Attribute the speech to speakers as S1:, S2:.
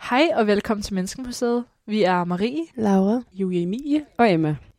S1: Hej og velkommen til Menneskemuseet. Vi er Marie,
S2: Laura.
S3: Julie Emilie og Emma.